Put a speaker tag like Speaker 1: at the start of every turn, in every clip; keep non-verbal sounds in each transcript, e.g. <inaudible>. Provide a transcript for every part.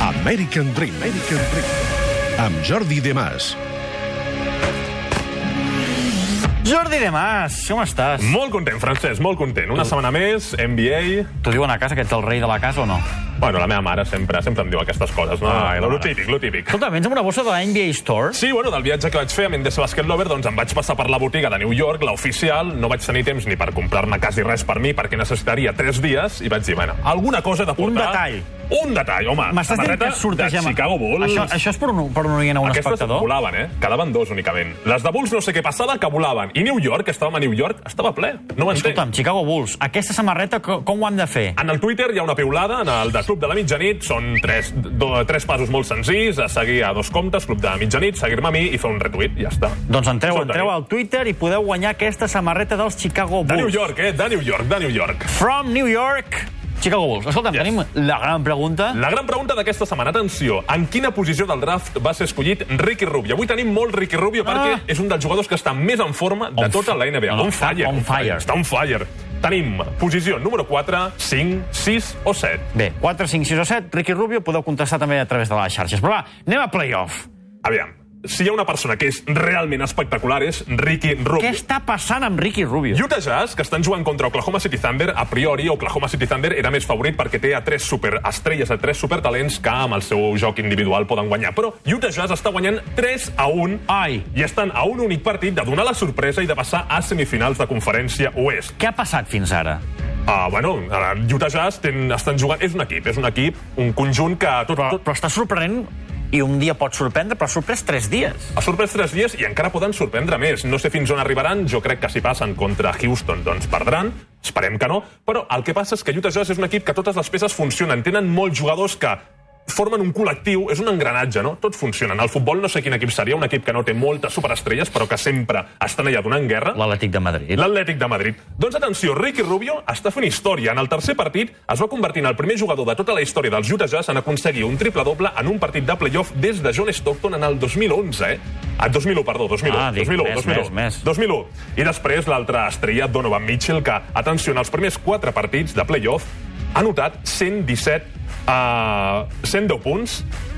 Speaker 1: American Dream. American Dream. Amb Jordi Demàs.
Speaker 2: Jordi de Mas, com estàs?
Speaker 3: Molt content, Francesc, molt content. Una setmana més, NBA...
Speaker 2: T'ho diuen a casa que ets el rei de la casa o no?
Speaker 3: Bueno, la meva mare sempre sempre em diu aquestes coses, no?
Speaker 2: Ai, la
Speaker 3: lo
Speaker 2: mare.
Speaker 3: típic, lo típic.
Speaker 2: Escolta, vens amb una bossa de la NBA Store?
Speaker 3: Sí, bueno, del viatge que vaig fer amb Indes Basket Lover, doncs em vaig passar per la botiga de New York, l'oficial, no vaig tenir temps ni per comprar-me quasi res per mi, perquè necessitaria 3 dies, i vaig dir, bueno, alguna cosa he de
Speaker 2: Un
Speaker 3: portar...
Speaker 2: detall.
Speaker 3: Un detall, home.
Speaker 2: M'estàs dient
Speaker 3: Samarreta
Speaker 2: que sortegem...
Speaker 3: De Chicago Bulls.
Speaker 2: Això, eh, això és per un, per un oient a un
Speaker 3: Aquestes
Speaker 2: espectador?
Speaker 3: volaven, eh? Quedaven dos únicament. Les de Bulls no sé què passava, que volaven. I New York, que estàvem a New York, estava ple. No ho entenc.
Speaker 2: Escolta'm, Chicago Bulls, aquesta samarreta co- com ho han de fer?
Speaker 3: En el Twitter hi ha una piulada, en el de Club de la Mitjanit, són tres, do, tres passos molt senzills, a seguir a dos comptes, Club de la Mitjanit, seguir-me a mi i fer un retuit, ja està.
Speaker 2: Doncs entreu,
Speaker 3: Això ho
Speaker 2: entreu
Speaker 3: tenim.
Speaker 2: al Twitter i podeu guanyar aquesta samarreta dels Chicago
Speaker 3: De New
Speaker 2: Bulls.
Speaker 3: York, eh? De New York, de New York.
Speaker 2: From New York, Chicago Bulls. Escolta'm,
Speaker 3: Yes. Mm.
Speaker 2: tenim la gran pregunta.
Speaker 3: La gran pregunta d'aquesta setmana, atenció, en quina posició del draft va ser escollit Ricky Rubio? Avui tenim molt Ricky Rubio perquè és un dels jugadors que està més en forma de
Speaker 2: Ah. On
Speaker 3: tota
Speaker 2: fi-
Speaker 3: la NBA.
Speaker 2: no, no,
Speaker 3: on
Speaker 2: està
Speaker 3: fire.
Speaker 2: on fire.
Speaker 3: Està on fire. Tenim posició número 4, 5, 6 o 7.
Speaker 2: Bé, 4, 5, 6 o 7, Ricky Rubio, podeu contestar també a través de les xarxes. Però va, anem a playoff.
Speaker 3: Aviam, si hi ha una persona que és realment espectacular és Ricky Rubio.
Speaker 2: Què està passant amb Ricky Rubio?
Speaker 3: Utah Jazz, que estan jugant contra Oklahoma City Thunder, a priori Oklahoma City Thunder era més favorit perquè té a tres superestrelles, a tres supertalents que amb el seu joc individual poden guanyar. Però Utah Jazz està guanyant 3 a 1
Speaker 2: Ai.
Speaker 3: i estan a un únic partit de donar la sorpresa i de passar a semifinals de conferència oest.
Speaker 2: Què ha passat fins ara?
Speaker 3: Ah, bueno, ara, Utah Jazz ten, estan jugant... És un equip, és un equip, un conjunt que... Tot,
Speaker 2: Però,
Speaker 3: tot,
Speaker 2: però està sorprenent i un dia pot sorprendre, però ha sorprès 3 dies.
Speaker 3: ha sorprès 3 dies i encara poden sorprendre més. No sé fins on arribaran, jo crec que si passen contra Houston doncs perdran, esperem que no, però el que passa és que Utah Jazz és un equip que totes les peces funcionen, tenen molts jugadors que formen un col·lectiu, és un engranatge, no? Tot funciona. En el futbol no sé quin equip seria, un equip que no té moltes superestrelles, però que sempre estan allà donant guerra.
Speaker 2: L'Atlètic de Madrid.
Speaker 3: L'Atlètic de Madrid. Doncs atenció, Ricky Rubio està fent història. En el tercer partit es va convertir en el primer jugador de tota la història dels Utah Jazz en aconseguir un triple-doble en un partit de playoff des de John Stockton en el 2011, eh? Ah, 2001, perdó, 2001.
Speaker 2: Ah, dic,
Speaker 3: 2001,
Speaker 2: més,
Speaker 3: 2001,
Speaker 2: més, més.
Speaker 3: 2001. I després l'altra estrella, Donovan Mitchell, que, atenció, en els primers quatre partits de playoff ha notat 117 a 110 eh, punts.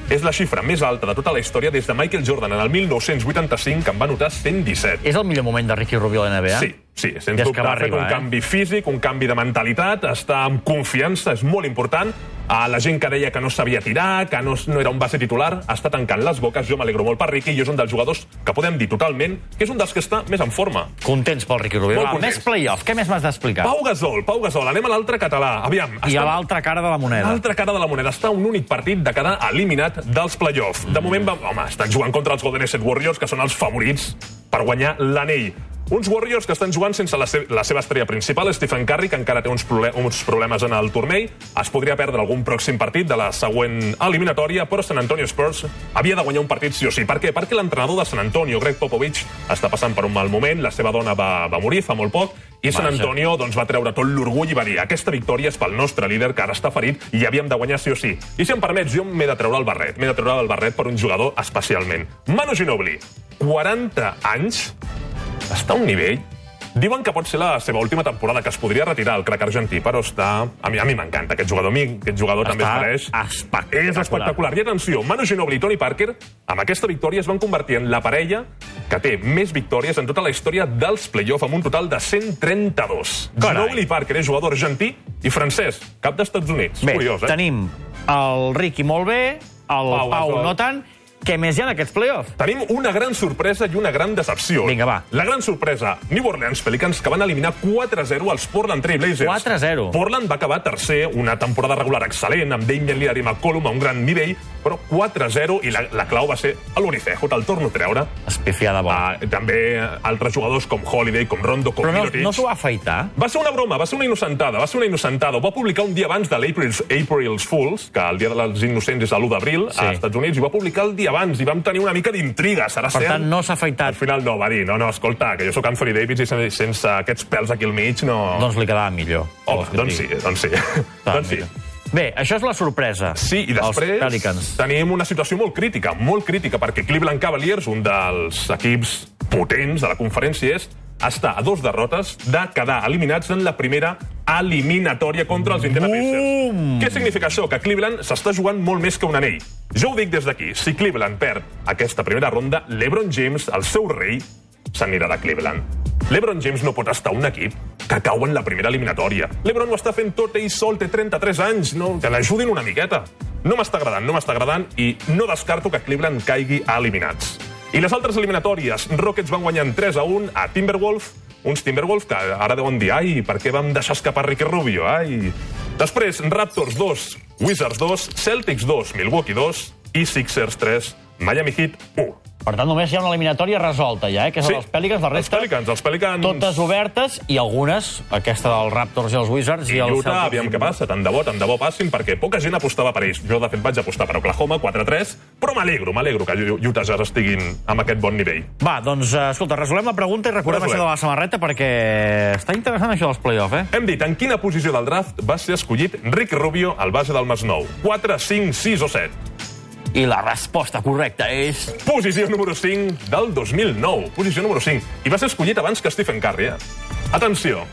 Speaker 3: És la xifra més alta de tota la història des de Michael Jordan en el 1985, que en va notar 117.
Speaker 2: És el millor moment de Ricky Rubio a la NBA?
Speaker 3: Sí, sí, sens
Speaker 2: Des Eh? que
Speaker 3: dubte.
Speaker 2: va
Speaker 3: Ha fet un
Speaker 2: arribar, eh?
Speaker 3: canvi físic, un canvi de mentalitat, està amb confiança, és molt important. A la gent que deia que no sabia tirar, que no, no era un base titular, està tancant les boques. Jo m'alegro molt per Ricky i és un dels jugadors que podem dir totalment que és un dels que està més en forma.
Speaker 2: Contents pel Ricky Rubio.
Speaker 3: Molt
Speaker 2: Va,
Speaker 3: contents.
Speaker 2: més playoff, què més m'has d'explicar?
Speaker 3: Pau Gasol, Pau Gasol, anem a l'altre català. Aviam,
Speaker 2: I a
Speaker 3: estem-
Speaker 2: l'altra cara de la moneda.
Speaker 3: L'altra cara de la moneda està un únic partit de quedar eliminat dels play-off. De moment, va, home, estan jugant contra els Golden State Warriors, que són els favorits per guanyar l'anell. Uns Warriors que estan jugant sense la, se la seva estrella principal, Stephen Curry, que encara té uns, prole uns problemes en el tornei. Es podria perdre algun pròxim partit de la següent eliminatòria, però San Antonio Spurs havia de guanyar un partit sí o sí. Per què? Perquè l'entrenador de San Antonio, Greg Popovich, està passant per un mal moment, la seva dona va, va morir fa molt poc, i San
Speaker 2: Vaja.
Speaker 3: Antonio Antonio doncs, va treure tot l'orgull i va dir aquesta victòria és pel nostre líder, que ara està ferit, i havíem de guanyar sí o sí. I si em permets, jo m'he de treure el barret. M'he de treure el barret per un jugador especialment. Manu Ginobili, 40 anys, està a un nivell... Diuen que pot ser la seva última temporada, que es podria retirar el crac argentí, però està... A mi, a mi m'encanta aquest jugador. A mi aquest jugador també
Speaker 2: Està
Speaker 3: es mereix...
Speaker 2: espectacular.
Speaker 3: És espectacular. I atenció, Manu Ginobili i Tony Parker, amb aquesta victòria es van convertir en la parella que té més victòries en tota la història dels play-off, amb un total de 132.
Speaker 2: Carai.
Speaker 3: Ginobili i Parker és jugador argentí i francès, cap d'Estats Units.
Speaker 2: Bé,
Speaker 3: Curiós, eh?
Speaker 2: tenim el Ricky molt bé, el Pau,
Speaker 3: Pau Gasol.
Speaker 2: no tant. Què més hi ha en aquests playoff?
Speaker 3: Tenim una gran sorpresa i una gran decepció.
Speaker 2: Vinga, va.
Speaker 3: La gran sorpresa, New Orleans Pelicans, que van eliminar 4-0 als Portland Trail Blazers.
Speaker 2: 4-0.
Speaker 3: Portland va acabar tercer, una temporada regular excel·lent, amb Damian Lillard i McCollum a un gran nivell, però 4-0, i la, la clau va ser l'Unicejo, te'l torno a treure.
Speaker 2: Espifiada bona.
Speaker 3: Uh, també eh, altres jugadors com Holiday, com Rondo, com
Speaker 2: Però no,
Speaker 3: Mirotic.
Speaker 2: no s'ho va afaitar?
Speaker 3: Va ser una broma, va ser una innocentada, va ser una innocentada. Ho va publicar un dia abans de l'April's April's Fools, que el dia dels innocents és l'1 d'abril,
Speaker 2: Sí.
Speaker 3: sí. als Estats Units, i ho va publicar el dia abans, i vam tenir una mica d'intriga. Serà
Speaker 2: Per
Speaker 3: cert?
Speaker 2: tant, no s'ha
Speaker 3: Al
Speaker 2: afaitat.
Speaker 3: final no, va dir, no, no, escolta, que jo sóc Anthony Davis i sen- sense aquests pèls aquí al mig no...
Speaker 2: Doncs li quedava millor.
Speaker 3: Home,
Speaker 2: Vols que et
Speaker 3: doncs sí,
Speaker 2: digui?
Speaker 3: doncs sí.
Speaker 2: Va,
Speaker 3: <laughs> doncs sí.
Speaker 2: mira. Bé, això és la sorpresa.
Speaker 3: Sí, i
Speaker 2: Els
Speaker 3: després
Speaker 2: Pelicans.
Speaker 3: tenim una situació molt crítica, molt crítica, perquè Cleveland Cavaliers, un dels equips potents de la conferència est, està a dos derrotes de quedar eliminats en la primera eliminatòria contra els Indiana Pacers. Què significa això? Que Cleveland s'està jugant molt més que un anell. Jo ho dic des d'aquí. Si Cleveland perd aquesta primera ronda, l'Ebron James, el seu rei, s'anirà de Cleveland. L'Ebron James no pot estar a un equip que cau en la primera eliminatòria. L'Ebron ho està fent tot ell sol, té 33 anys, no, que l'ajudin una miqueta. No m'està agradant, no m'està agradant i no descarto que Cleveland caigui a eliminats. I les altres eliminatòries, Rockets van guanyant 3 a 1 a Timberwolf, uns Timberwolf que ara deuen dir, ai, per què vam deixar escapar Ricky Rubio, ai... Després, Raptors 2, Wizards 2, Celtics 2, Milwaukee 2 i Sixers 3, Miami Heat 1.
Speaker 2: Per tant, només hi ha una eliminatòria resolta ja, eh? que és sí. els Pelicans, la resta...
Speaker 3: Els Pelicans, els Pelicans...
Speaker 2: Doncs Totes obertes i algunes, aquesta dels Raptors i els Wizards i,
Speaker 3: I
Speaker 2: els
Speaker 3: Utah, aviam què passa, tant de bo, tant de bo passin, perquè poca gent apostava per ells. Jo, de fet, vaig apostar per Oklahoma, 4-3, però m'alegro, m'alegro que Utah Jazz estiguin amb aquest bon nivell.
Speaker 2: Va, doncs, eh, escolta, resolem la pregunta i recordem
Speaker 3: Resolem.
Speaker 2: això de la samarreta perquè està interessant això dels play-off, eh?
Speaker 3: Hem dit en quina posició del draft va ser escollit Rick Rubio al base del Masnou. 4, 5, 6 o 7.
Speaker 2: I la resposta correcta és...
Speaker 3: Posició número 5 del 2009. Posició número 5. I va ser escollit abans que Stephen Curry, eh? Atenció,